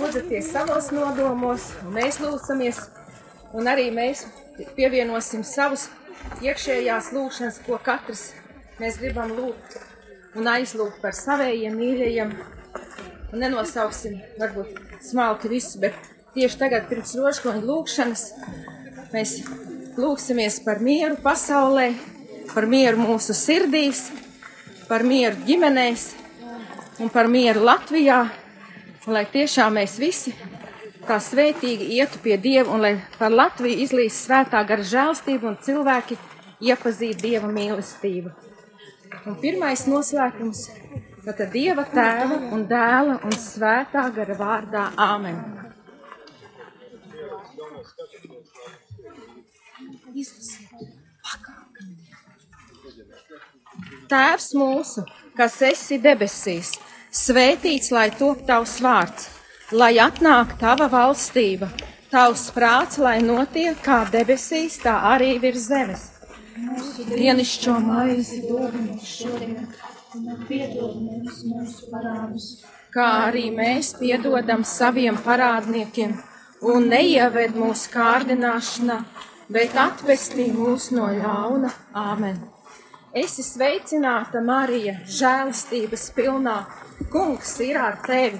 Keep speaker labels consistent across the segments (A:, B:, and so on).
A: lūdzaties savos nodomos, un mēs lūdzamies, un arī mēs pievienosim savus iekšējās lūgšanas, ko katrs mēs gribam lūgt un aizlūgt par savējiem mīļajiem. Un nenosauksim, varbūt smalki visu, bet tieši tagad, pirms rožkoņa lūgšanas, mēs lūgsimies par mieru pasaulē, par mieru mūsu sirdīs, par mieru ģimenēs un par mieru Latvijā. Un, lai tiešām mēs visi tā svētīgi ietu pie Dieva un lai par Latviju izlīs svētā gara žēlstība un cilvēki iepazīst Dieva mīlestību. Un pirmais noslēpums - tad Dieva tēva un dēla un svētā gara vārdā Āmen. Tēvs mūsu, kas esi debesīs, svētīts lai top tavs vārds, lai atnāk tava valstība, tavs prāts, lai notiek kā debesīs, tā arī virs zemes. Dienišķo maizi dod mums šodien,
B: un piedod mums mūsu parādus,
A: kā arī mēs piedodam saviem parādniekiem, un neieved mūsu kārdināšanā, bet atvestī mūs no ļauna. Āmen! Esi sveicināta, Marija, žēlastības pilnā. Kungs ir ar tevi!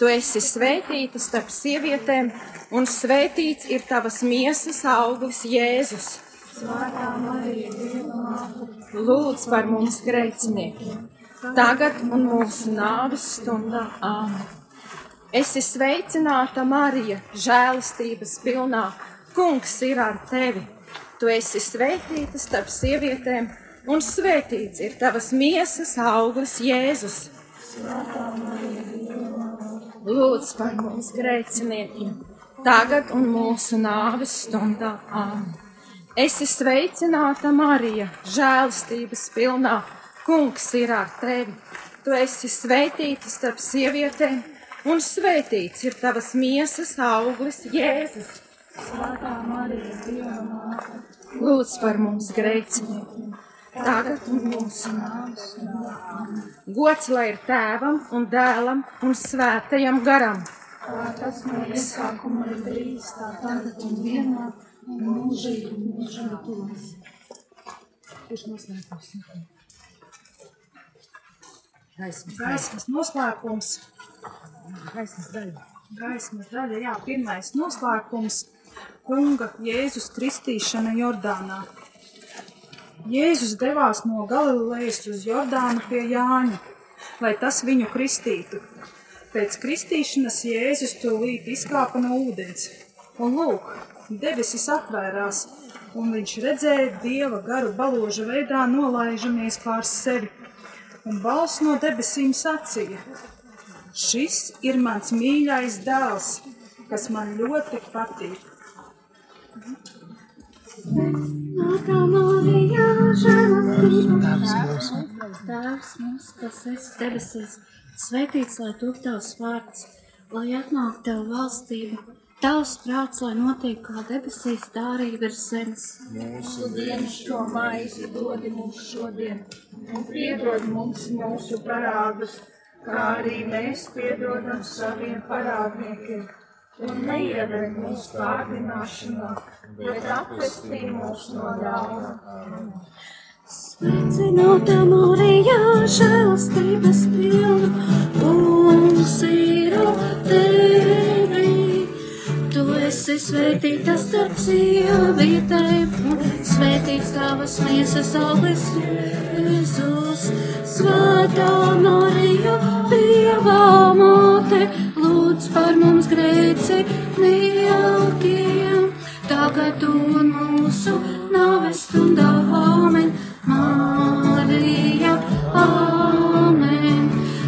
A: Tu esi svētīta starp sievietēm, un svētīts ir tavas miesas auglis, Jēzus. Lūdz par mums grēciniekiem, tagad un mūsu nāves stundā. Āmen. Esi sveicināta, Marija, žēlastības pilnā. Kungs ir ar tevi! Tu esi svētīta starp sievietēm, un svētīts ir tavas miesas auglis, Jēzus. Lūdz par mums grēciniekiem, tagad un mūsu nāves stundā. Āmen. Esi sveicināta, Marija, žēlstības pilnā. Kungs ir ar tevi. Tu esi svētīta starp sievietēm, un svētīts ir tavas miesas auglis, Jēzus.
B: svētā Marija, Dieva māte,
A: Lūdz par mums grēciniekiem, tagad un mūsu
B: nāves un nāves,
A: gods lai ir tēvam un dēlam un svētajam garam.
B: kā tas no iesākuma ir bijis, tā tagad un vienmēr, un mūžīgi mūžam tūs.
A: Kurš noslēpums? Gaismas, gaismas noslēpums. Gaismas daļa.
C: Gaismas daļa, jā, pirmais noslēpums - kunga Jēzus kristīšana Jordānā. Jēzus devās no Galilejas uz Jordānu pie Jāņa, lai tas viņu kristītu. Pēc kristīšanas Jēzus tūlīt izkāpa no ūdens, un lūk, debesis atvērās, un viņš redzēja dieva garu balūža veidā nolaižamies pār sevi, un balss no debesīm sacīja: Šis ir mans mīļais dēls, kas man ļoti patīk.
B: Svētā Marija, žēlastības Tēvs mums, kas esi debesīs, svētīts lai top tavs vārds, lai atnāk tev valstība, tavs prāts, lai notiek kā debesīs, tā arī virs zemes.
D: Mūsu dienascho maizi dod mums šodien, un piedod mums mūsu parādus, kā arī mēs piedodam saviem parādniekiem. Un neieved mūsu kārdināšanā, bet atpestī mūs no ļauna. Āmen.
B: Sveicināta Marija, žēlastības pilna, kungs ir ar tevi. Tu esi svētīta starp sievietēm, un svētīts tavas miesas augļas, Jēzus. Svētā Marija, Dieva māte, lūdz par mums grēciniekiem, tagad un mūsu nāves stundā āmen. Marija, āmen.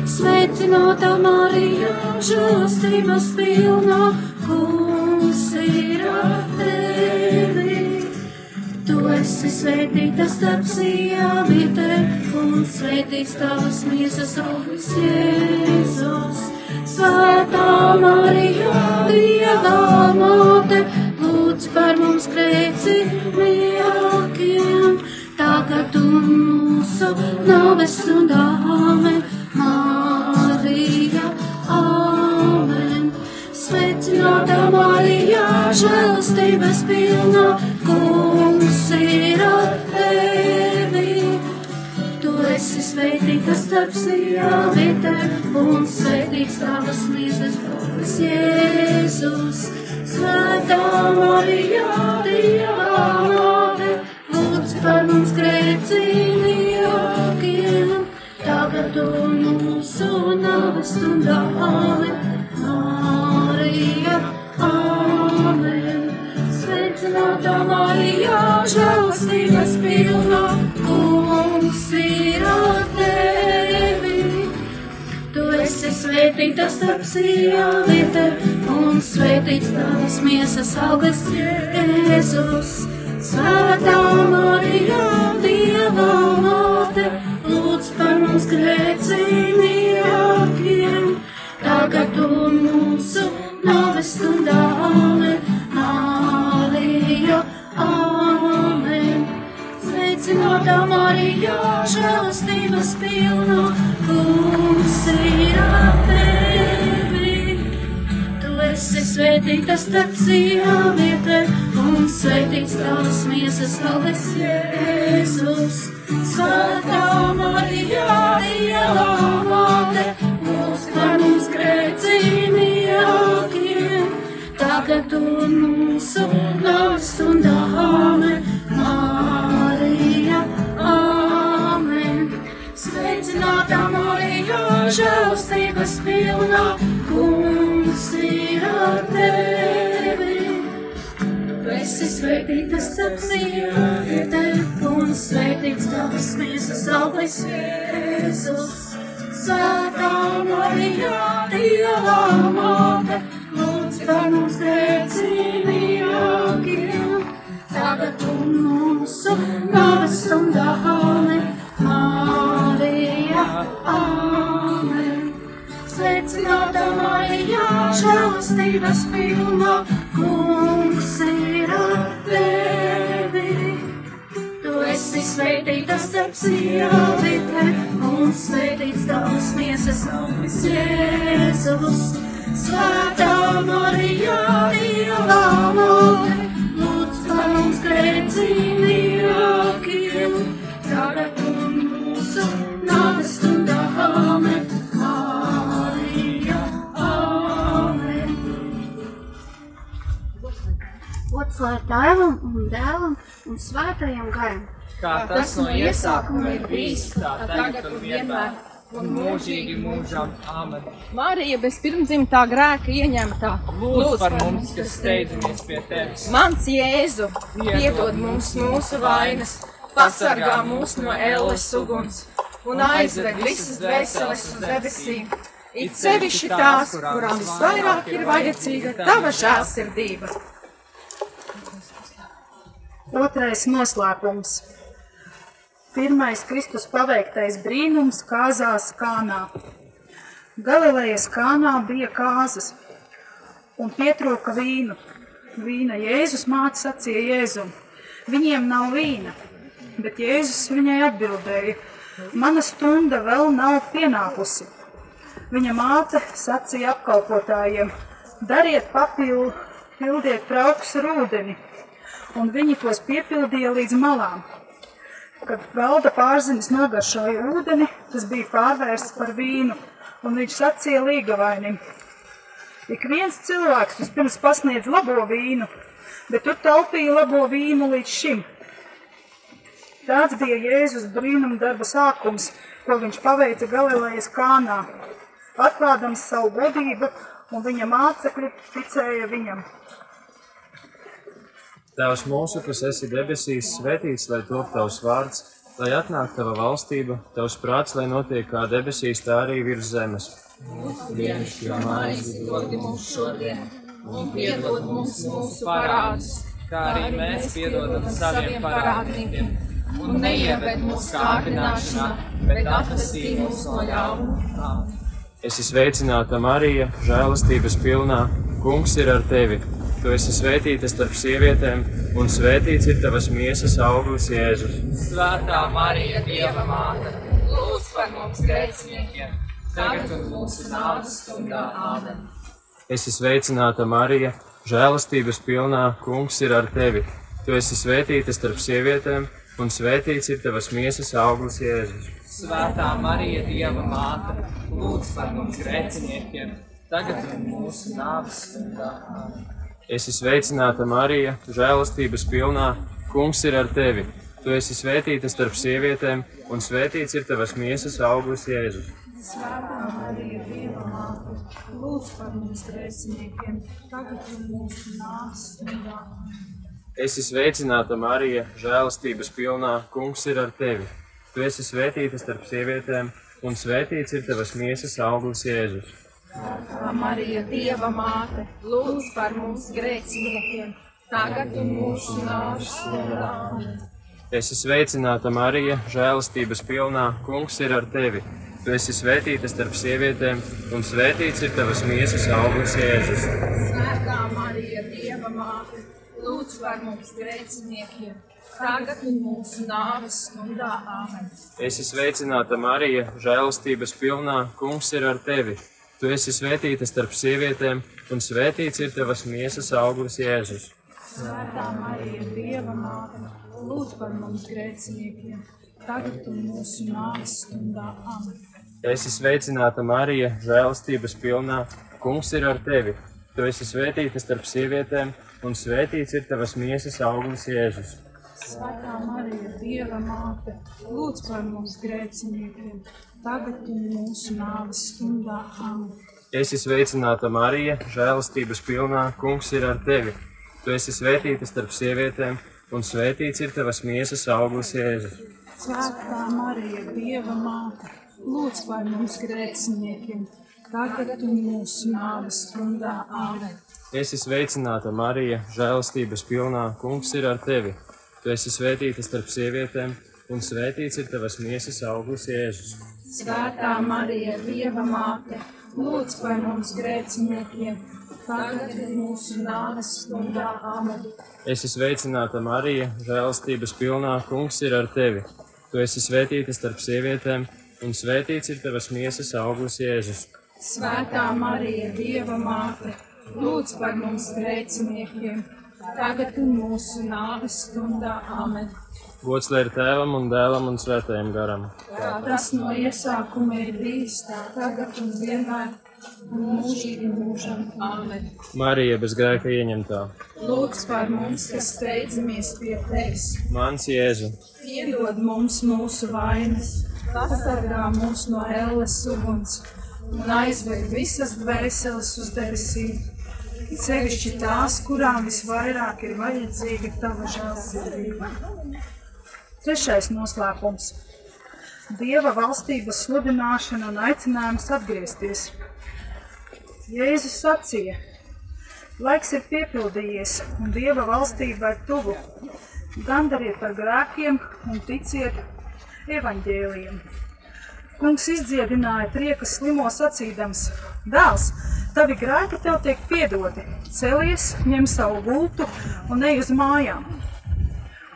B: Sveicināta Marija, žēlastības pilna, kungs ir ar tevi. Tu esi svētīta starp sievietēm, un svētīts tavas miesas augļus, Jēzus. Svētā Marija, Dieva māte, lūdz par mums grēciniekiem, tagad un mūsu nāves stundā, Āmen. Marija, Āmen. Svētā Marijā, žēlastības pilna, kungs ir ar tevi. Tu esi sveitīta starp sievietēm, un sveitīts tavas līdzes kungs Jēzus. Svētā Marijā, Dieva māte, lūdz par mums grēciniekiem, tagad un mūsu nāves stundā. Amen. Marija, Amen. Sveicināta Marija, žēlastības pilna, kungs ir ar tevi. Tu esi svētīta starp sievietēm, un svētīts tavas miesas augsts Jēzus. Svētā Marija, Dieva māte, lūdz par mums grēciniekiem, tagad un mūsu nāves stundā. Amen. Marija, Amen. Sveicināta Marija, žēlastības pilna, kungs ir ar tevi. Tu esi svētīta starp sievietēm, un svētīts tavas miesas nāves Jēzus. Svētā Marija, Dieva māte, mūs par mums grēciniekiem, tagad un mūsu nāves stundā. Amen. Marija, Amen. Sveicināta Marija, žēlastības pilna, kungs ir ar tevi. Tu esi svētīta starp sievietēm, un svētīts tavas miesas augļas Jēzus. Svētā Marija, Dieva māte, lūdz par mums grēciniekiem, tagad un mūsu nāves stundā. Amen. Marija, Amen. Sveicināta Marija, žēlastības pilna, kungs ir ar tevi. Tu esi sveitīta starp sievietēm, un sveitīts tavas miesas augļus Jēzus. Svētā Marija, Dieva māte, lūdz par mums grēciniekiem, tagad un mūsu nāves stundā. Amen. Marija, Amen. Gods lai tēvam un dēlam un svētajam garam.
E: kā tas no iesākuma ir bijis, tā tagad un vienmēr, un mūžīgi mūžam. Āmen!
F: Marija bez pirmdzimtā grēka ieņemtā.
E: Lūdzu par mums, kas steidzamies pie tevis!
F: Mans Jēzu, piedod mums mūsu vainas, pasargā mūs no elles uguns un aizved visas dvēseles uz debesīm. It sevišķi tās, kurām visvairāk ir vajadzīga tava žēlsirdība.
C: Otrais noslēpums. Pirmais Kristus paveiktais brīnums kāzās kānā. Galilejas kānā bija kāzas un pietrūka vīnu. Vīna Jēzus māca sacīja Jēzum. Viņiem nav vīna, bet Jēzus viņai atbildēja, mana stunda vēl nav pienākusi. Viņa māte sacīja apkalpotājiem, dariet papildu, pildiet traukus ar ūdeni, un viņi tos piepildīja līdz malām. Kad valda pārzinis nogaršoja ūdeni, tas bija pārvērsts par vīnu, un viņš sacīja līgavainim. Ik viens cilvēks vispirms pasniedz labo vīnu, bet tu taupīji labo vīnu līdz šim. Tāds bija Jēzus brīnuma darba sākums, ko viņš paveica Galilejas kānā, atklādams savu godību, un viņa mācekļi ticēja viņam.
G: Tēvs mūsu, kas esi debesīs, svētīts, lai top tavs vārds, lai atnāktu tava valstība, tavs prāts, lai notiek kā debesīs, tā arī virs zemes.
E: Dod mums šodien, un piedod mums mūsu parādus, kā arī mēs piedodam saviem parādniekiem. Un neieved mūsu kārdināšanā, bet atvesī mūs no ļaunuma. Āmen.
G: Es esmu sveicināta Marija, žēlastības pilnā. Kungs ir ar tevi. Tu esi svētīta starp sievietēm, un svētīts ir tavas miesas auglis, Jēzus.
E: Svētā Marija, Dieva māte, lūdz par mums grēciniekiem, tagad un mūsu nāves stundā. Āmen!
G: Es esmu sveicināta Marija, Žēlastības pilnā kungs ir ar tevi. Tu esi svētīta starp sievietēm, un svētīts ir tavas miesas auglis Jēzus.
E: Svētā Marija, Dieva māte, lūdz par mums grēciniekiem, tagad un mūsu nāves stundā. Āmen.
G: Esi sveicināta, Marija, žēlastības pilnā kungs ir ar tevi. Tu esi svētīta starp sievietēm, un svētīts ir tavas miesas auglis Jēzus.
C: Svētā Marija, Dieva māte, lūdz par mums grēciniekiem, tagad ir mūsu nāves stundā.
G: Esi sveicināta, Marija, žēlastības pilnā, kungs ir ar tevi. Tu esi svētīta starp sievietēm, un svētīts ir tavas miesas auglis Jēzus.
A: Svētā Marija, Dieva māte, lūdz par mums grēciniekiem, tagad un mūsu nāves stundā.
G: Esi sveicināta, Marija, žēlastības pilnā, kungs ir ar tevi. Tu esi svētīta starp sievietēm, un svētīts ir tavas miesas auglis Jēzus.
A: Svētā Marija, Dieva māte, lūdz par mums grēciniekiem, tagad un mūsu nāves stundā. Āmen!
G: Esi sveicināta, Marija, žēlastības pilnā, kungs ir ar tevi. Tu esi svētīta starp sievietēm, un svētīts ir tavas miesas auglis Jēzus.
C: Svētā Marija, Dieva māte, lūdz par mums grēciniekiem, tagad ir mūsu nāves stundā. Amen.
G: Es esmu sveicināta, Marija, žēlastības pilnā. Kungs ir ar tevi. Tu esi svētīta starp sievietēm, un svētīts ir tavas miesas augurs, Jēzus.
C: Svētā Marija, Dieva māte, lūdz par mums grēciniekiem, tagad ir mūsu nāves stundā. Amen.
G: Es esmu sveicināta, Marija, žēlastības pilnā. Kungs ir ar tevi. Tu esi svētīta starp sievietēm, un svētīts ir tavas miesas augurs, Jēzus.
C: Svētā Marija, Dieva māte, lūdz par mums grēciniekiem, tagad un mūsu nāves stundā. Āmen!
G: Es esmu sveicināta, Marija, žēlastības pilnā. Kungs ir ar tevi. Tu esi svētīta starp sievietēm, un svētīts ir tavas miesas augurs, Jēzus.
A: Svētā Marija, Dieva māte, lūdz par mums grēciniekiem, tagad ir mūsu nāves stundā. Amen!
G: Es esmu sveicināta, Marija, žēlastības pilnā. Kungs ir ar tevi. Tu esi svētīta starp sievietēm, un svētīts ir tavas miesas augurs, Jēzus.
A: Svētā Marija, Dieva māte, lūdz par mums grēciniekiem, tagad un mūsu nāves stundā. Amen!
G: Gods lai ir tēvam un dēlam un svētajam garam.
A: Kā tas no iesākuma ir bijis, tā tagad un vienmēr, un mūžīgi mūžam. Amen!
G: Marija bez grēka ieņemtā.
A: Lūdz par mums, kas steidzamies pie tevis!
G: Mans Jēzu,
A: Piedod mums mūsu vainas, pasargā mūs no elles uguns un aizved visas dvēseles uz debesīm.
C: Sevišķi tās, kurām visvairāk ir vajadzīga tava žēlsirdība. Trešais noslēpums - Dieva valstības sludināšana un aicinājums atgriezties. Jēzus sacīja: Laiks ir piepildījies, un Dieva valstība ir tuvu. Gandariet par grēkiem un ticiet evaņģēliem. Kungs izdziedināja prieka slimo sacīdams: Dēls, tavi grēki tev tiek piedoti. Celies, ņem savu gultu un ej uz mājām.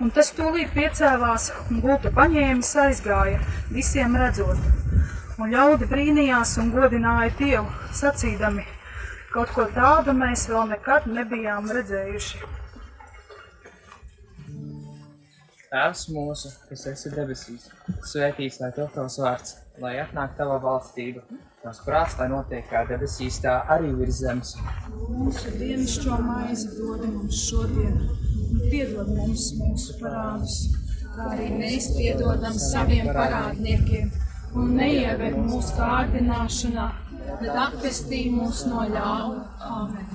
C: Un tas tūlīt piecēlās, un gultu paņēmis aizgāja, visiem redzot. Un ļaudi brīnījās un godināja Dievu, sacīdami: Kaut ko tādu mēs vēl nekad nebijām redzējuši.
E: Tēvs mūsu, kas esi debesīs, svētīts lai top tavs vārds, lai atnāk tava valstība, tās prāts, lai notiek kā debesīs, tā arī virs zemes.
C: Mūsu dienascho maizi dod mums šodien, un piedod mums mūsu parādus, kā arī
A: Mēs piedodam saviem parādniekiem un neieved mūsu kārdināšanā, bet apgāstī mūs no ļauna. Amen!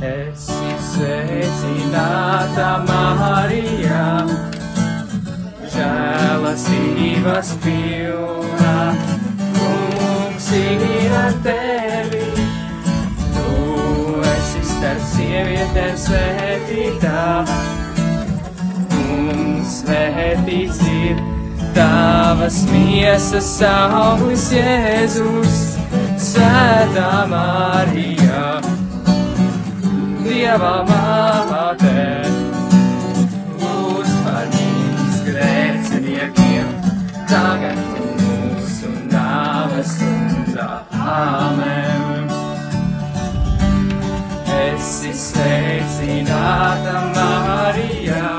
E: Es sveicināta Marija, žēlastības pilna, kungs ir ar tevi. Tu esi starp sievietēm svētītā, un svētīts ir tavas miesas auglis Jēzus, Svētā Marija. Dieva māte, lūdz par mums grēciniekiem, tagad un mūsu nāves stundā. Āmen. Es esi sveicināta Marija,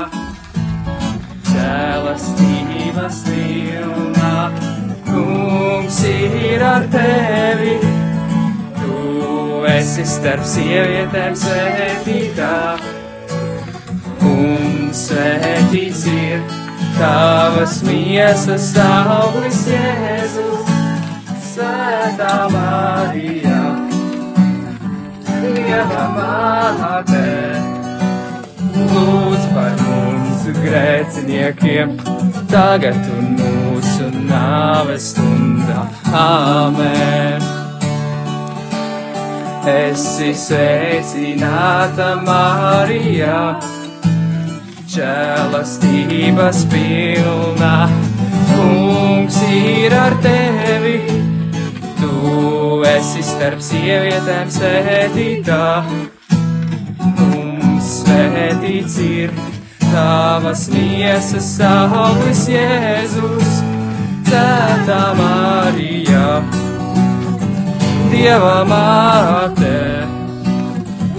E: žēlastības pilna. Kungs ir ar tevi, tu esi starp sievietēm svētītā, un svētīts ir tavas miesas auglis Jēzus, Svētā Marija, Dieva māte lūdz par mums grēciniekiem, tagad un mūsu nāves stundā. Āmen! Esi sveicināta Marijā, žēlastības pilna, kungs ir ar tevi. Tu esi starp sievietēm sēdītā mums svētīts ir tavas miesas auglis Jēzus, Sētā Marija, Dieva māte,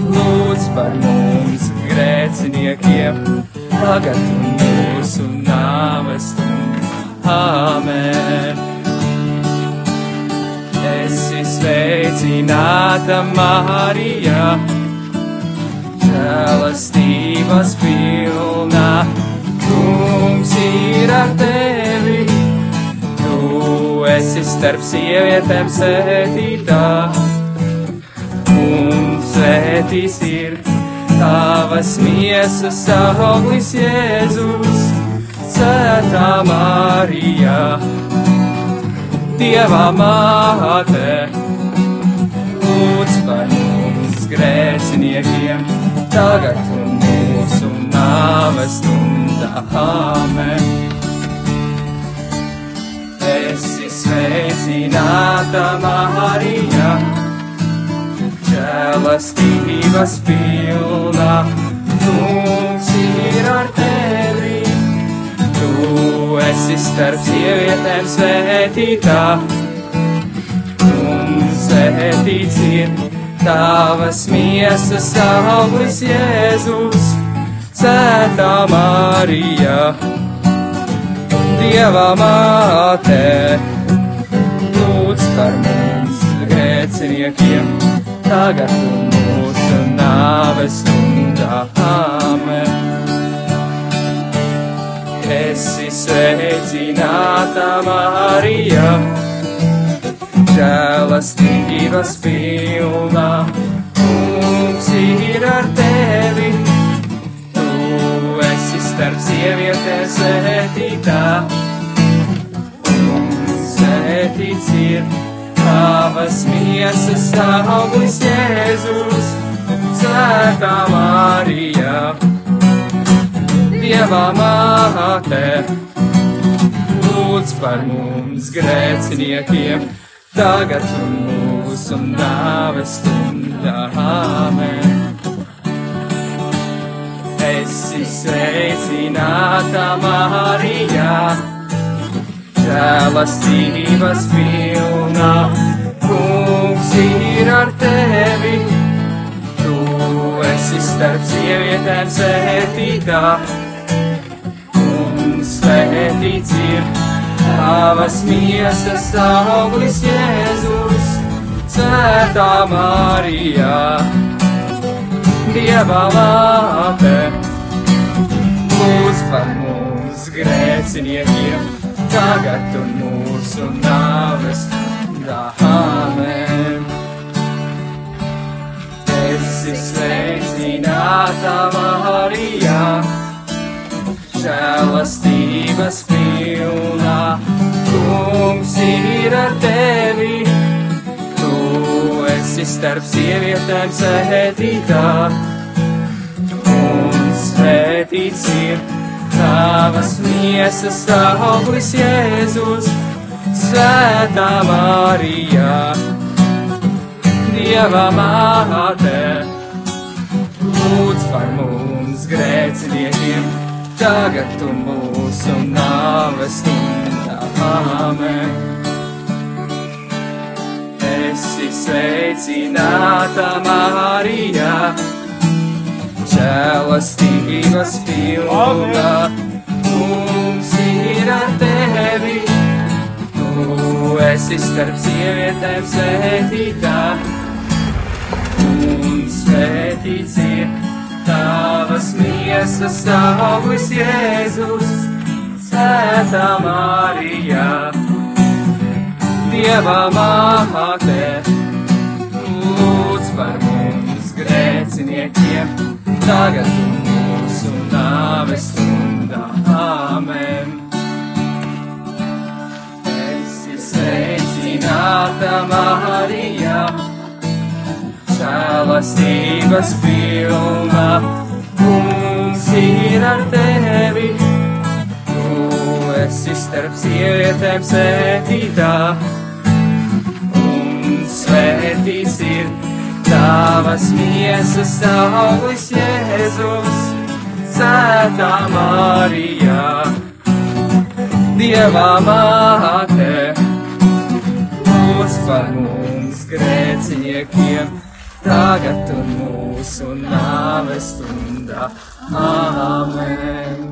E: lūdz par mums grēciniekiem, tagad un mūsu nāvestum. Āmen! Esi sveicināta Marija! žēlastības pilna. Kungs ir ar tevi, tu esi starp sievietēm sēdītā. Un svētīs ir tavas miesas auglis Jēzus, Sētā Marija, Dieva māte lūdz par mums grēciniekiem, tagad un mūsu nāves stundā. Amen! Esi sveicināta Marija, žēlastības pilna, kungs ir ar tevi. Tu esi starp sievietēm svētītā un svētīts ir tavas miesas auglis Jēzus, Sētā Marija, Dieva māte, lūdz par mums grēciniekiem, tagad un mūsu nāves stundā. Amen! Esi sveicināta Marija! žēlastības pilna. Kungs ir ar tevi, tu esi starp sievietēm sētītā. Sētīts ir tavas miesas auglis Jēzus, Svētā Marija, Dieva māte. Lūdz par mums grēciniekiem, tagad un mūsu nāves stundā. Amen. Esi sveicināta Marijā, žēlastības pilna, kungs ir ar tevi. Tu esi starp sievietēm sētītā, un svētīts ir. Tavas miesas auglis Jēzus, Svētā Marijā, Dieva māte, lūdz par mums grēciniekiem, tagad un mūsu nāves dāmēm. Esi sveicināta Marijā, žēlastības pilna. Kungs ir ar tevi, tu esi starp sievietēm sētītā. Un svētīts ir tavas miesas auglis Jēzus, Svētā Marijā, Dieva māte. Lūdz par mums grēciniekiem, tagad tu mūsu nāves stundā. Amen. Esi sveicināta Marija, žēlastības pilna. Kungs ir ar tevi, tu esi starp sievietēm sētītā, un sētīts ir tavas miesas auglis Jēzus, Sētā Marijā, Dieva māte lūdz par mums grēciniekiem, tagad un mūsu nāves stundā. Amen! Es sveicināta Marija, žēlastības pilna, mums ir ar tevi. Tu esi starp sievietēm sētītā un svētīts ir tavas miesas auglis Jēzus, Sētā Marijā, Dieva māte, mūs par mums grēciniekiem, tagad un mūsu nāves stundā. Āmen!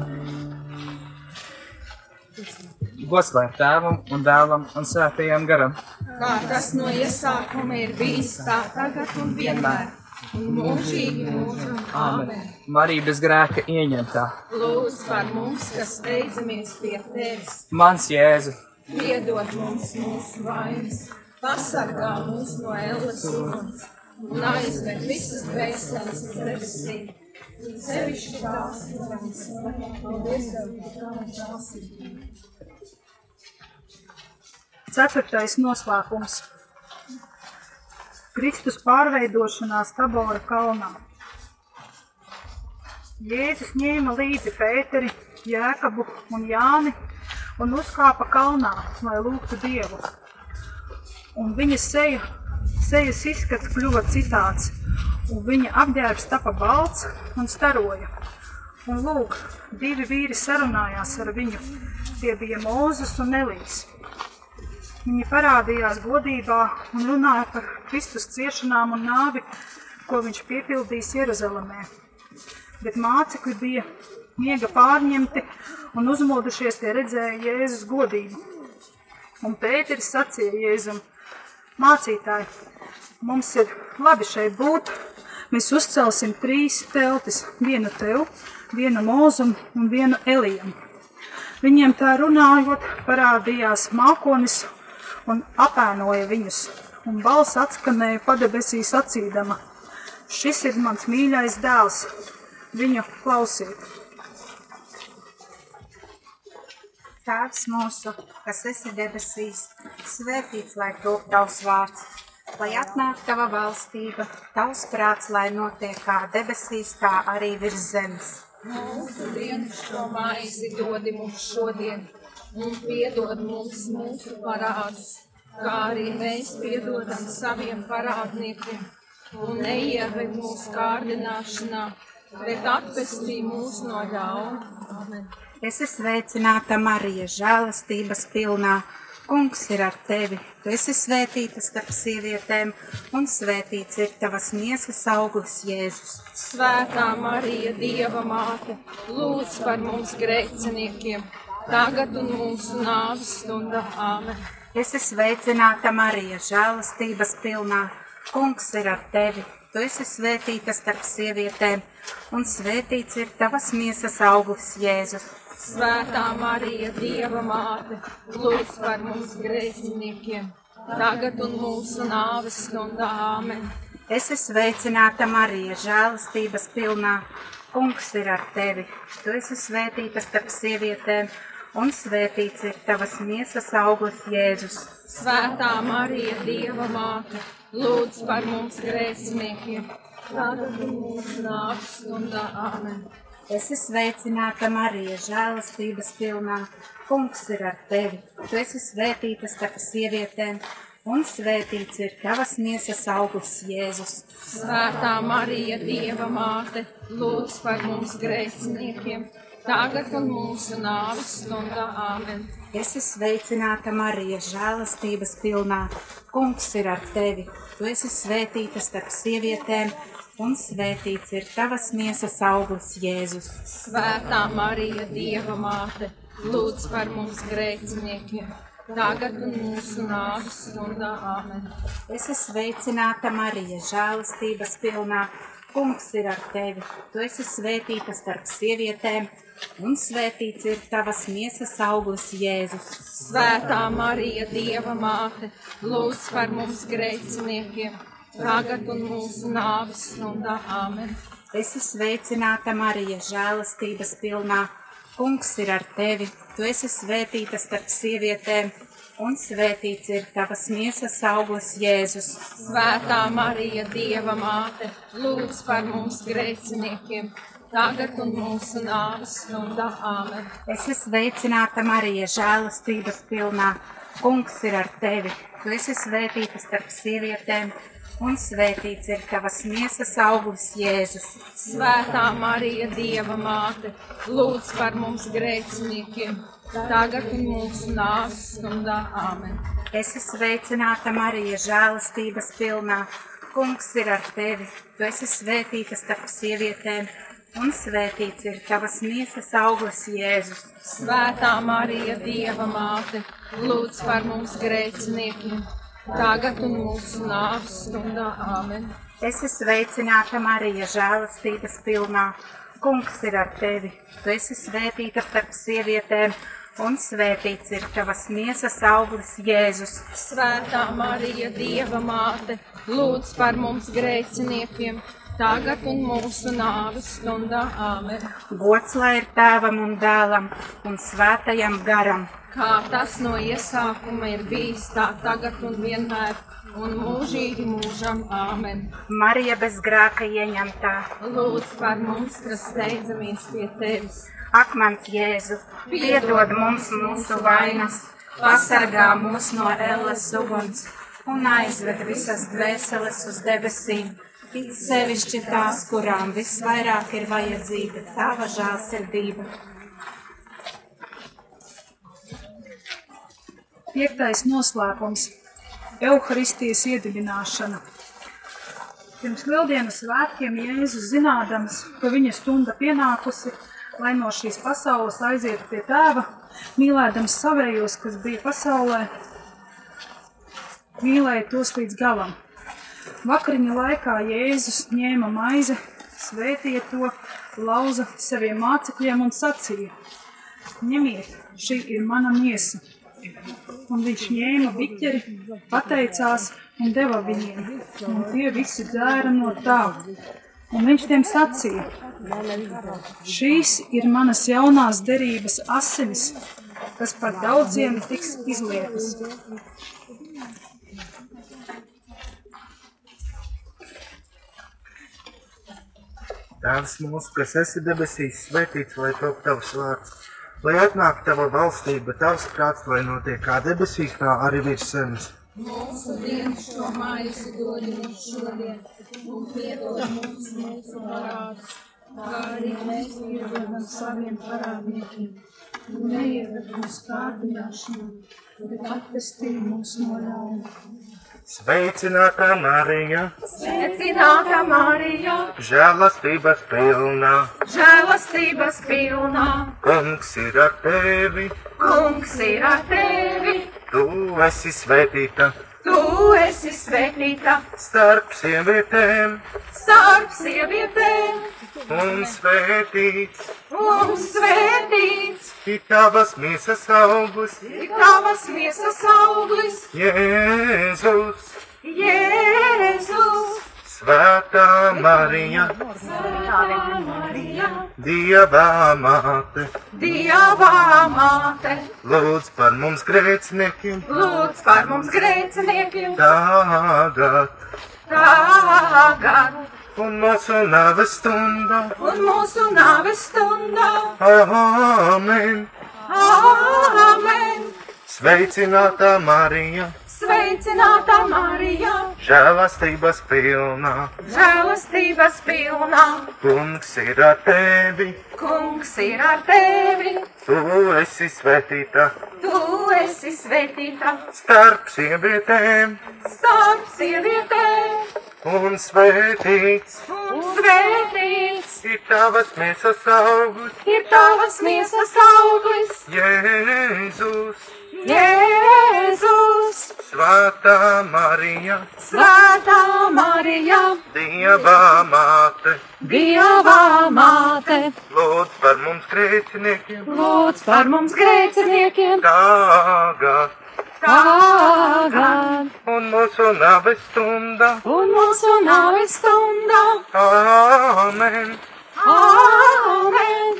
E: Gods lai tēvam un dēlam un svētajam garam!
F: kā tas no iesākuma ir bijis tā tagad un vienmēr. Un mūžīgi mūžam. Āmen.
E: Marija bez grēka ieņemtā.
F: Lūdz par mums, kas steidzamies pie tevis,
E: Mans jēzu,
F: piedod mums mūsu vainas, pasargā mūs no elles uguns un aizved visas dvēseles uz debesīm. Un Sevišķi tās, kuras mums vajag, paldies, ka tā mums jāsīt.
C: Ceturtais noslēpums - Kristus pārveidošanās Tabora kalnā. Jēzus ņēma līdzi Pēteri, Jēkabu un Jāni un uzkāpa kalnā, lai lūgtu Dievu. Un viņa seja, sejas izskats kļuva citāds, un viņa apģērbs tapa balts un staroja. Un lūk, divi vīri sarunājās ar viņu. Tie bija Mozus un Elīze. Viņi parādījās godībā un runāja par Kristus ciešanām un nāvi, ko viņš piepildīs Jeruzalemē. Bet mācekļi bija miega pārņemti un uzmodušies, tie redzēja Jēzus godību. Un Pēters sacīja Jēzum: Mācītāji, mums ir labi šeit būt. Mēs uzcelsim trīs teltis, vienu tev, vienu mūzum un vienu elijam. Viņiem tā runājot, parādījās mākonis un apēnoja viņus. Un balss atskanēja padebesīs sacīdama: Šis ir mans mīļais dēls, viņu klausiet!
H: Tēvs mūsu, kas esi debesīs, svētīts lai top tavs vārds, lai atnāk tava valstība, tavs prāts, lai notiek kā debesīs, tā arī virs zemes.
A: Mūsu dienas šo maizi dod mums šodien, un piedod mums mūsu parādus, kā arī mēs piedodam saviem parādniekiem, un neieved mūsu kārdināšanā, bet atpestī mūs no ļauna. Amen.
H: Es esmu sveicināta Marija, žēlastības pilnā. Kungs ir ar tevi, tu esi svētīta starp sievietēm, un svētīts ir tavas miesas auglis Jēzus.
F: Svētā Marija, Dieva māte, lūdz par mums grēciniekiem, tagad un mūsu nāves stundā. Āmen!
H: Es esmu sveicināta Marija, žēlastības pilnā. Kungs ir ar tevi. Tu esi svētīta starp sievietēm, un svētīts ir tavas miesas auglis, Jēzus.
F: Svētā Marija, Dieva māte, lūdz par mums grēciniekiem, tagad un mūsu nāves stundā. Āmen!
H: Es esmu sveicināta Marija, žēlastības pilnā. Kungs ir ar tevi. Tu esi svētīta starp sievietēm, un svētīts ir tavas miesas auglis, Jēzus.
F: Svētā Marija, Dieva māte, lūdz par mums grēciniekiem, tagad un mūsu nāves stundā. Āmen!
H: Es esmu sveicināta Marija, žēlastības pilnā. Kungs ir ar tevi. Tu esi svētīta starp sievietēm, un svētīts ir tavas miesas augurs, Jēzus.
F: Svētā Marija, Dieva māte, lūdz par mums grēciniekiem, tagad un mūsu nāves stundā. Āmen!
H: Es esmu sveicināta Marija, žēlastības pilnā. Kungs ir ar tevi. Tu esi svētīta starp sievietēm, un svētīts ir tavas miesas auglis, Jēzus.
A: Svētā Marija, Dieva māte, lūdz par mums grēciniekiem, tagad un mūsu nāves stundā Āmen.
H: Es esmu sveicināta, Marija, žēlastības pilnā. Kungs ir ar tevi. Tu esi svētīta starp sievietēm, un svētīts ir tavas miesas auglis, Jēzus.
A: Svētā Marija, Dieva māte, lūdz par mums grēciniekiem, tagad un mūsu nāves stundā Āmen.
H: Es esmu sveicināta, Marija, žēlastības pilnā. Kungs ir ar tevi. Tu esi svētīta starp sievietēm, un svētīts ir tavas miesas auglis, Jēzus.
A: Svētā Marija, Dieva māte, lūdz par mums grēciniekiem, tagad un mūsu nāves stundā Āmen.
H: Es esmu sveicināta, Marija, žēlastības pilnā. Kungs ir ar tevi. Tu esi svētīta starp sievietēm, un svētīts ir tavas miesas auglis, Jēzus.
A: Svētā Marija, Dieva māte, lūdz par mums grēciniekiem, tagad un mūsu nāves stundā Āmen.
H: Es esmu sveicināta, Marija, žēlastības pilnā. Kungs ir ar tevi. Tu esi svētīta starp sievietēm, un svētīts ir tavas miesas auglis, Jēzus.
A: Svētā Marija, Dieva māte, lūdz par mums grēciniekiem, tagad un mūsu nāves stundā Āmen.
H: Es esmu sveicināta, Marija, žēlastības pilnā. Kungs ir ar tevi. Tu esi svētīta starp sievietēm, un svētīts ir tavas miesas auglis, Jēzus.
A: Svētā Marija, Dieva māte, lūdz par mums grēciniekiem, tagad un mūsu nāves stundā Āmen.
H: Gods lai ir tēvam un dēlam un svētajam garam.
A: Kā tas no iesākuma ir bijis, tā tagad un vienmēr, un mūžīgi mūžam Āmen.
H: Marija bez grāka ieņemtā,
A: Lūdz par mums, kas steidzamies pie tevis.
H: akmens Jēzu, piedod mums mūsu vainas, pasargā mūs no elles uguns un aizved visas dvēseles uz debesīm. It sevišķi tās, kurām visvairāk ir vajadzīga tava žēlsirdība.
C: Piektais noslēpums - evaharistijas iedibināšana. Pirms lieldienas svētkiem Jēzus zinādams, ka viņa stunda pienākusi, lai no šīs pasaules aizietu pie tēva, mīlēdams savējos, kas bija pasaulē, mīlēja tos līdz galam. Vakariņu laikā Jēzus ņēma maizi, svētīja to, lauza saviem mācekļiem un sacīja: Ņemiet, šī ir mana miesa! Un viņš ņēma biķeri, pateicās un deva viņiem, un tie visi dzēra no tā. Un viņš tiem sacīja: Šīs ir manas jaunās derības asinis, kas par daudziem tiks izlietas.
I: Tēvs mūsu, kas esi debesīs, svētīts lai top tavs vārds, lai atnāk tava valstība, tavs prāts, lai notiek kā debesīs, tā arī virs zemes.
A: Mūsu dienas šo maizi dod mums šodien, un piedod mums mūsu parādus, kā arī mēs piedodam saviem parādniekiem. Un neieved mūsu kārdināšanā, bet atvestī mūs no ļauna.
I: Sveicināta Marija,
A: Sveicināta Marija,
I: žēlastības pilnā,
A: žēlastības pilnā,
I: kungs ir ar tevi,
A: kungs ir ar tevi,
I: tu esi svētīta
A: tu esi sveicīta
I: starp sievietēm
A: starp sievietēm,
I: un svētīts
A: un sveicīts
I: ir tavas miesas augurs,
A: ir tavas miesas auglis,
I: Jēzus,
A: Jēzus.
I: svētā Marija,
A: Svētā Marija,
I: Dieva māte.
A: Dieva māte,
I: Lūdz par mums grēciniekiem,
A: lūdz par mums grēciniekiem,
I: tagad
A: tagad
I: un mūsu nāves stundā.
A: un mūsu nāves stundā.
I: Amen!
A: Āmen!
I: Sveicināta Marija,
A: Sveicināta Marija,
I: žēlastības pilnā,
A: žēlastības pilnā,
I: kungs ir ar tevi,
A: kungs ir ar tevi,
I: tu esi svētīta
A: tu esi sveicīta
I: starp sievietēm,
A: starp sievietēm,
I: un svētīts
A: Svētīts
I: ir tavas miesas augurs,
A: ir tavas miesas auglis,
I: Jēzus.
A: Jēzus,
I: Svētā Marija,
A: Svētā Marija,
I: Dieva māte,
A: Dieva māte,
I: lūdz par mums grēciniekiem,
A: lūdz par mums grēciniekiem,
I: tagad
A: tagad
I: un mūsu nāves stundā.
A: un mūsu nāves stundā.
I: Āmen!
A: Āmen!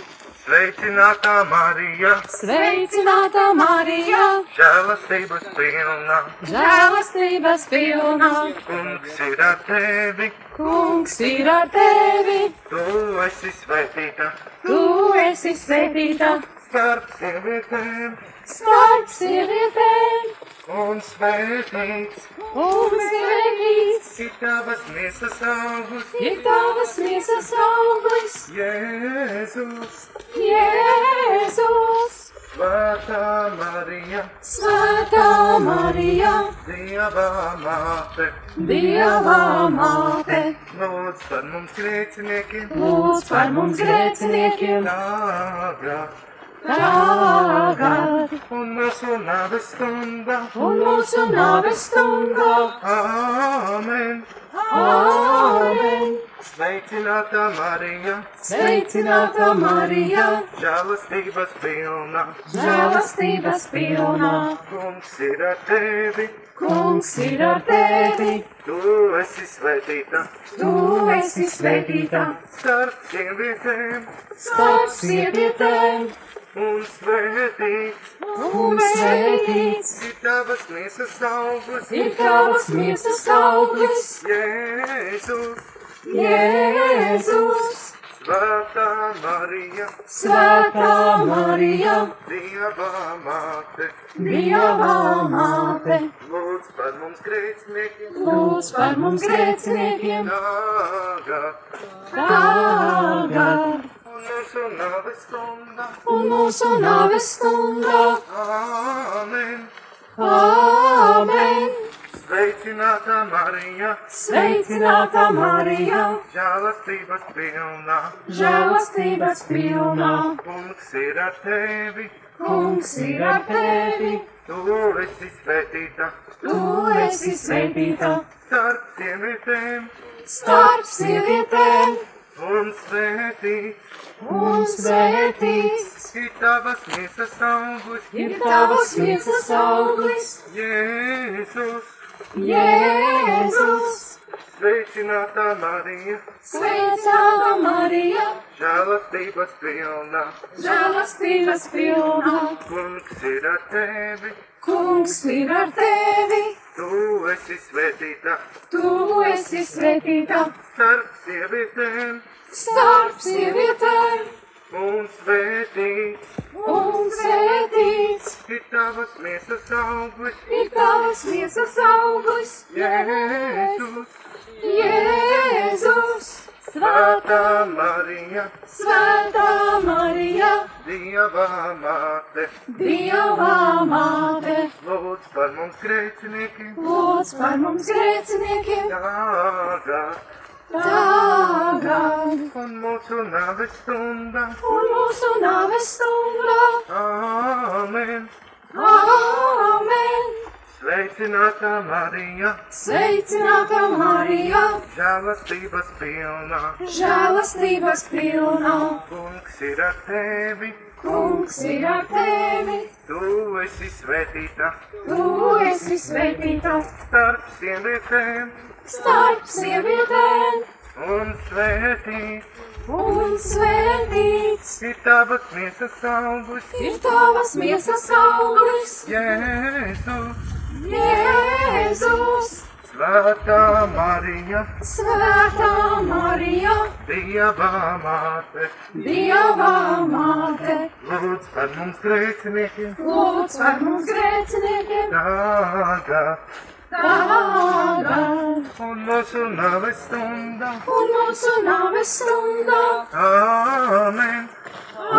I: Sveicinātā Marija,
A: Sveicināta Marija,
I: žēlastības pilna,
A: žēlastības pilna,
I: kungs ir ar tevi,
A: kungs ir ar tevi,
I: tu esi svētīta
A: tu esi sveicināta
I: starp sievietēm
A: starp sievietēm
I: un svētīts
A: un sveicināts.
I: ir tavas miesas augurs,
A: Ir tavas miesas auglis,
I: Jēzus!
A: Jēzus,
I: Svētā Marija,
A: Svētā Marija,
I: Dieva māte,
A: Dieva māte,
I: lūdz par mums grēciniekiem,
A: lūdz par mums grēciniekiem,
I: tagad
A: tagad
I: un mūsu nāves stundā.
A: un mūsu nāves stundā.
I: Āmen!
A: Āmen!
I: Sveicināta Marija,
A: Sveicināta Marija,
I: žēlastības pilna,
A: žēlastības pilnā,
I: kungs ir ar tevi,
A: kungs ir ar tevi,
I: tu esi svētīta
A: tu esi sveicināta
I: starp sievietēm
A: starp sievietēm.
I: un svētīts
A: Un sveicināts
I: ir tavas miesas augurs,
A: ir tavas miesas auglis,
I: Jēzus!
A: Jēzus,
I: Svētā Marija,
A: Svētā Marija,
I: Dieva māte,
A: Dieva māte,
I: lūdz par mums grēciniekiem,
A: lūdz par mums grēciniekiem,
I: tagad
A: tagad
I: un mūsu nāves stundā.
A: un mūsu nāves stundā.
I: Āmen!
A: Āmen!
I: Sveicināta Marija,
A: Sveicināta Marija,
I: žēlastības pilnā,
A: žēlastības pilnā,
I: kungs ir ar tevi,
A: kungs ir ar tevi,
I: tu esi svētīta
A: tu esi sveicināta
I: starp sievietēm
A: starp sievietēm.
I: un svētīts
A: Un svētīts
I: ir tavas miesas augurs,
A: ir tavas miesas auglis,
I: Jēzus!
A: Jēzus.
I: Sveicināta Marija,
A: Sveicināta Marija,
I: žēlastības pilnā,
A: žēlastības pilna,
I: kungs ir ar tevi,
A: kungs ir ar tevi,
I: tu esi svētīta
A: tu esi svētīta
I: starp sievietēm
A: starp sievietēm.
I: un svētīts.
A: Un svētīts
I: Ir tavas miesas auglis,
A: ir tavas miesas auglis,
I: Jēzus,
A: Jēzus. Svētā,
I: Svētā Marija,
A: svētā Marija,
I: Dieva māte,
A: Dieva māte.
I: lūdz par mums grēciniekiem,
A: Lūdz par mums grēciniekiem,
I: tagad
A: tagad
I: un mūsu nāves stundā.
A: un mūsu nāves stundā.
I: Āmen!
A: Āmen!
I: Sveicināta Marija,
A: Sveicināta Marija,
I: žēlastības pilnā,
A: žēlastības pilnā,
I: kungs ir ar tevi,
A: kungs ir ar tevi,
I: tu esi svētīta
A: tu esi sveicināta
I: starp sievietēm
A: starp sievietēm
I: un svētīts.
A: un svētīts.
I: Ir tavas miesas augurs,
A: Ir tavas miesas auglis,
I: Jēzus,
A: Jēzus,
I: Svētā Marija,
A: Svētā Marija.
I: Dieva māte,
A: Dieva māte,
I: lūdz par mums grēciniekiem,
A: lūdz par mums grēciniekiem,
I: tagad
A: tagad
I: un mūsu nāves stundā.
A: un mūsu nāves stundā.
I: Āmen!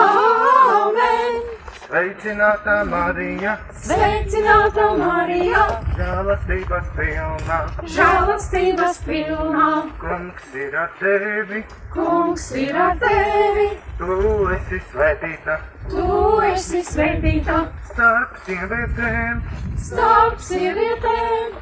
A: Āmen!
I: Sveicināta Marija,
A: Sveicināta Marija,
I: žēlastības pilnā,
A: žēlastības pilnā,
I: kungs ir ar tevi,
A: kungs ir ar tevi,
I: tu esi svētīta
A: tu esi svētīta
I: starp sievietēm,
A: starp sievietēm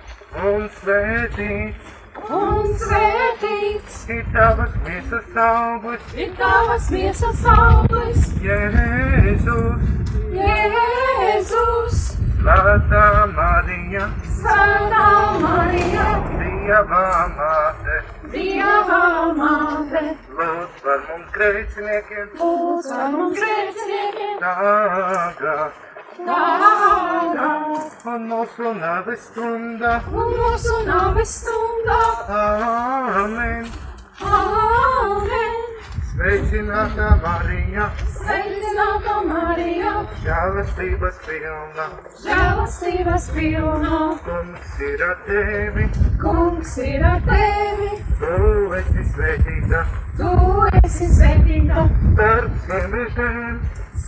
I: un svētīts
A: un svētīts.
I: ir tavas miesas augurs,
A: Ir tavas miesas augurs,
I: Jēzus,
A: Jēzus,
I: Svētā Marija,
A: Svētā Marija,
I: Dieva māte,
A: Dieva māte,
I: lūdz par mums grēciniekiem
A: lūdz par mums grēciniekiem
I: tagad
A: tagad.
I: un mūsu nāves stundā.
A: un mūsu nāves stundā.
I: Āmen!
A: Āmen!
I: Sveicināta Marija,
A: Sveicināta Marija,
I: žēlastības pilna,
A: žēlastības pilna,
I: kungs ir ar tevi,
A: kungs ir ar tevi,
I: tu esi svētīta
A: tu esi sveicināta
I: starp sievietēm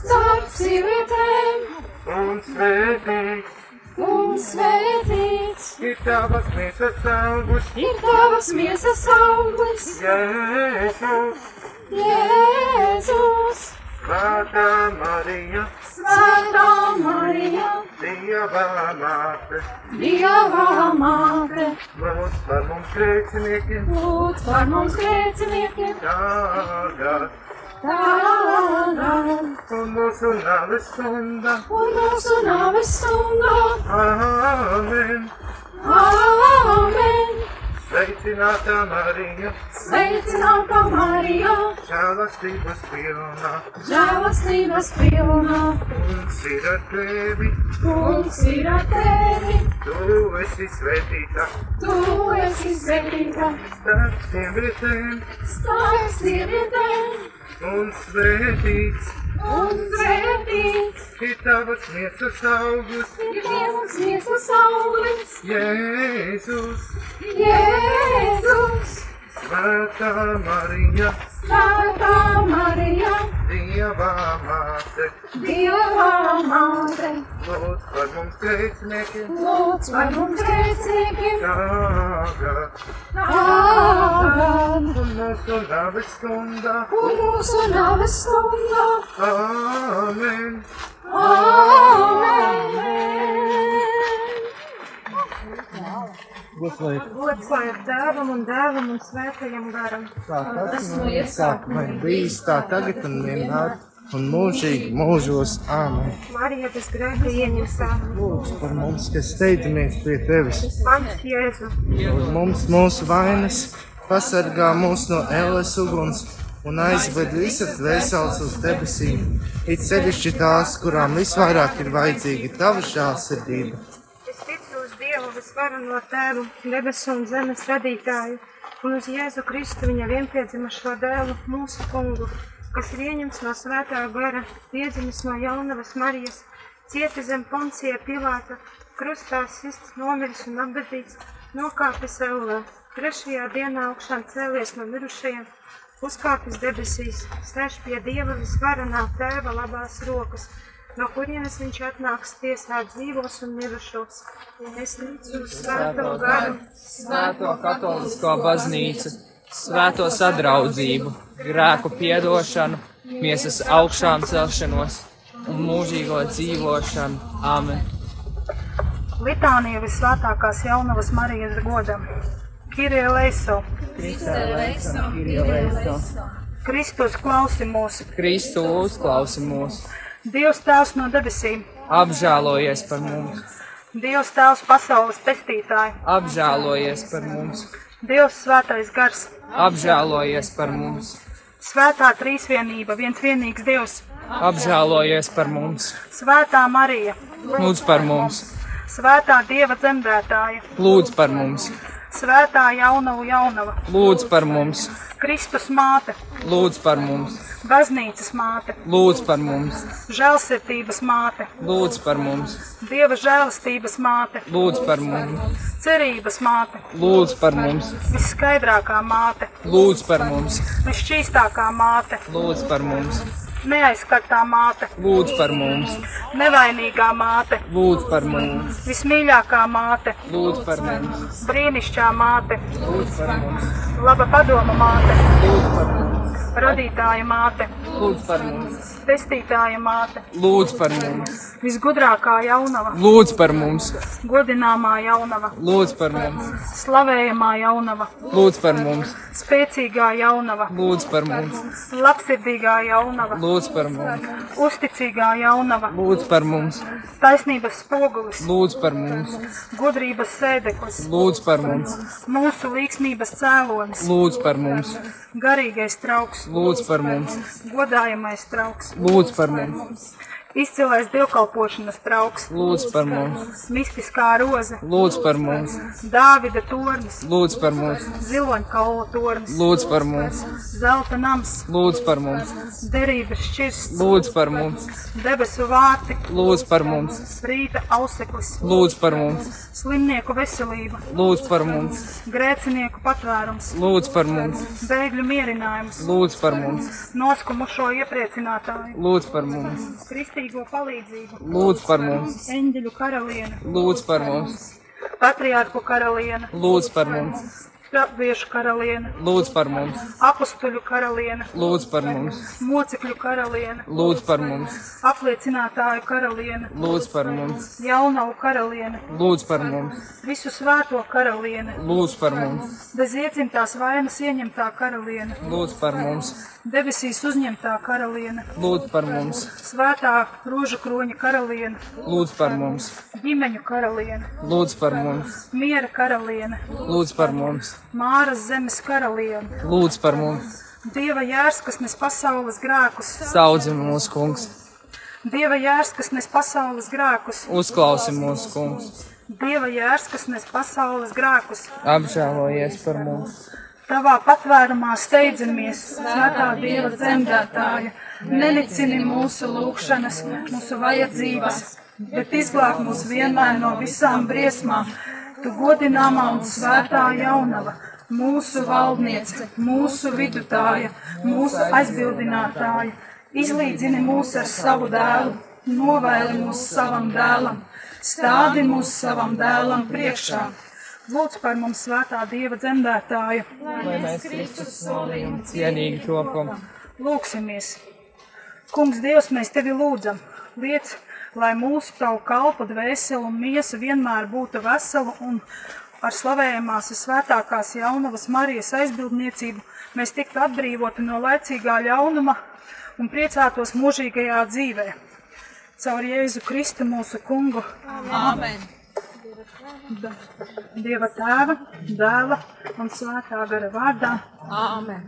A: starp sievietēm
I: un svētīts
A: un svētīts.
I: ir tavas miesas augurs,
A: Ir tavas miesas auglis,
I: Jēzus,
A: Jēzus,
I: Svētā Marija,
A: Svētā Marija,
I: Dieva māte,
A: Dieva māte,
I: lūdz par mums grēciniekiem
A: lūdz par mums grēciniekiem
I: tagad
A: tagad.
I: un mūsu nāves stundā.
A: un mūsu nāves stundā.
I: Āmen!
A: Āmen!
I: Sveicināta Marija,
A: Sveicināta Marija,
I: žēlastības pilna,
A: žēlastības pilna,
I: kungs ir ar tevi,
A: kungs ir ar tevi,
I: tu esi svētīta,
A: tu esi sveicināta,
I: starp sievietēm
A: stāv sievietēm
I: un svētīts,
A: un svētīts,
I: ir tavas miesas augus,
A: ir Dievs miesas auglis,
I: Jēzus,
A: Jēzus,
I: Svētā Marija,
A: Svētā Marija,
I: Dieva māte,
A: Dieva māte,
I: lūdz par mums grēciniekiem,
A: lūdz par mums grēciniekiem
I: tagad
A: tagad.
I: un mūsu nāves stundā.
A: Un mūsu nāves stundā.
I: Āmen!
A: Āmen!
C: Gods lai ir tēvam un dēlam un svētajam garam.
I: Tā tas no iesākuma ir bijis tā tagad un vienmēr un mūžīgi mūžos āmen.
C: Marija, bez grēka ieņemsā.
I: Lūdzu par mums, kas steidzamies pie tevis,
C: Mans Jēzu,
I: un mums mūsu vainas, pasargā mūs no ēles uguns un aizved visas dvēseles uz debesīm, it sevišķi tās, kurām visvairāk ir vajadzīga tava žālsirdība.
C: es ticu uz Dievu visvarano tēvu, debesu un zemes radītāju, un uz Jēzu Kristu viņa vienpiedzimušo dēlu, mūsu kungu, kas ir ieņemts no svētā gara, piedzimis no jaunavas Marijas, cieta zem poncija Pilāta, krustā sists nomiris un apbedīts, nokāpis ellē, trešajā dienā augšām cēlies no mirušajiem, uzkāpis debesīs, sēž pie Dieva visvarenā tēva labās rokas, no kurienes viņš atnāks tiesā dzīvos un mirušos. Es ticu uz svēto garu,
E: Svēto katolisko baznīcu, svēto sadraudzību, grēku piedošanu, miesas augšām celšanos un mūžīgo dzīvošanu. Āmen!
C: litānija visvētākās jaunavas Marijas godam. Kirie Leiso, Kristus klausi mūs,
E: Kristu uzklausi mūs,
C: Dievs tās no debesīm,
E: apžēlojies par mums,
C: Dievs tās pasaules pestītāji,
E: apžēlojies par mums,
C: Dievs svētais gars,
E: apžēlojies par mums,
C: svētā trīsvienība, viens vienīgs Dievs,
E: apžēlojies par mums,
C: svētā Marija,
E: lūdz par mums,
C: svētā Dieva dzemdētāja,
E: lūdz par mums,
C: svētā jaunavu jaunava,
E: lūdz par mums,
C: Kristus māte,
E: lūdz par mums,
C: baznīcas māte,
E: lūdz par mums,
C: žēlsirdības māte,
E: lūdz par mums,
C: Dieva žēlastības māte,
E: lūdz par mums,
C: cerības māte,
E: lūdz par mums,
C: visskaidrākā māte,
E: lūdz par mums,
C: visšķīstākā māte,
E: lūdz par mums,
C: Neaizskartā māte,
E: lūdz par mums,
C: nevainīgā māte,
E: lūdz par mums,
C: vismīļākā māte,
E: lūdz par mums,
C: brīnišķīgā māte,
E: lūdz par mums,
C: laba padoma māte,
E: lūdz par mums,
C: radītāja māte,
E: lūdz par mums,
C: pestītāja māte,
E: lūdz par mums,
C: visgudrākā jaunava,
E: lūdz par mums,
C: godināmā jaunava,
E: lūdz par mums,
C: slavējamā jaunava,
E: lūdz par mums,
C: spēcīgā jaunava,
E: lūdz par mums,
C: labsirdīgā jaunava,
E: lūdz par mums,
C: uzticīgā jaunava,
E: lūdz par mums,
C: taisnības spogulis,
E: lūdz par mums,
C: gudrības sēdeklis,
E: lūdz par mums,
C: mūsu līksmības cēlonis,
E: lūdz par mums,
C: garīgais trauks,
E: lūdz par mums,
C: godājamais trauks,
E: lūdz par mums,
C: izcilais dievkalpošanas trauks,
E: lūdz par mums,
C: mistiskā roze,
E: lūdz par mums,
C: Dāvida tornis,
E: lūdz par mums,
C: ziloņkaula tornis,
E: lūdz par mums,
C: zelta nams,
E: lūdz par mums,
C: derības šķirsts,
E: lūdz par mums,
C: debesu vārti,
E: lūdz par mums,
C: rīta auseklis,
E: lūdz par mums,
C: slimnieku veselība,
E: lūdz par mums,
C: grēcinieku patvērums,
E: lūdz par mums,
C: bēgļu mierinājums,
E: lūdz par mums,
C: noskumušo iepriecinātāju,
E: lūdz par mums,
C: kristīgo palīdzību,
E: lūdz par mums,
C: eņģeļu karaliene,
E: lūdz par mums,
C: patriārku karaliene,
E: lūdz par mums,
C: praviešu karaliene,
E: lūdz par mums,
C: apustuļu karaliene,
E: lūdz par mums,
C: mocekļu karaliene,
E: lūdz par mums,
C: apliecinātāju karaliene,
E: lūdz par mums,
C: jaunavu karaliene,
E: lūdz par mums,
C: visu svēto karaliene,
E: lūdz par mums,
C: bez iedzimtās vainas ieņemtā karaliene,
E: lūdz par mums,
C: debesīs uzņemtā karaliene,
E: lūdz par mums,
C: svētā rožu kroņa karaliene,
E: lūdz par mums,
C: ģimeņu karaliene,
E: lūdz par mums,
C: miera karaliene,
E: lūdz par mums,
C: māras zemes karaliene,
E: lūdz par mums,
C: dieva jērs, kas nes pasaules grēkus,
E: saudzi mūsu kungs,
C: dieva jērs, kas nes pasaules grēkus,
E: uzklausi mūsu kungs,
C: dieva jērs, kas nes pasaules grēkus.
E: apžēlojies par mums,
C: Tavā patvērumā steidzamies, svētā Dieva dzemdētāja, nenicini mūsu lūgšanas, mūsu vajadzības, bet izglāb mūs vienmēr no visām briesmām. Tu godināmā un svētā jaunava, mūsu valdniece, mūsu vidutāja, mūsu aizbildinātāja, izlīdzini mūs ar savu dēlu, novēli mūs savam dēlam, stādi mūs savam dēlam priekšā. Lūdz par mums, Svētā Dieva dzemdētāja.
E: lai mēs Kristus solījumu cienīgi topam.
C: Lūksimies! Kungs, Dievs, mēs tevi lūdzam! Liec, lai mūsu tavu kalpu dvēseli un miesa vienmēr būtu vesela un ar slavējumās un svētākās jaunavas Marijas aizbildniecību mēs tiktu atbrīvoti no laicīgā ļaunuma un priecātos mūžīgajā dzīvē. Caur Jēzu Kristu mūsu kungu. Āmen! Dieva tēva, dēla un svētā gara vārdā.
A: Āmen.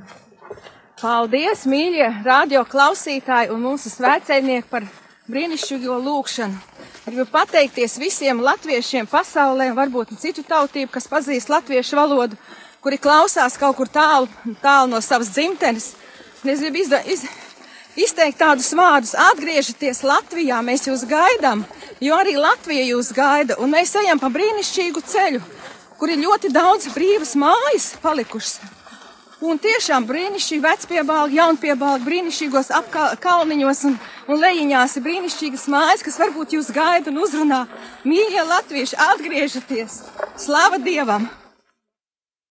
A: Paldies, mīļie radio klausītāji un mūsu svētceļnieki par brīnišķīgo lūgšanu. Gribu pateikties visiem latviešiem pasaulē, varbūt un citu tautību, kas pazīst latviešu valodu, kuri klausās kaut kur tālu, tālu no savas dzimtenes. Un Es gribu izda, iz, izteikt tādus vārdus: atgriežieties Latvijā, mēs jūs gaidām, jo arī Latvija jūs gaida, un mēs ejam pa brīnišķīgu ceļu, kur ir ļoti daudz brīvas mājas palikušas. Un tiešām brīnišķīgi vecpiebalgi, jaunpiebalgi, brīnišķīgos apkalniņos un, un lejiņās ir brīnišķīgas mājas, kas varbūt jūs gaida un uzrunā. Mīļie latvieši, atgriežieties! Slava Dievam!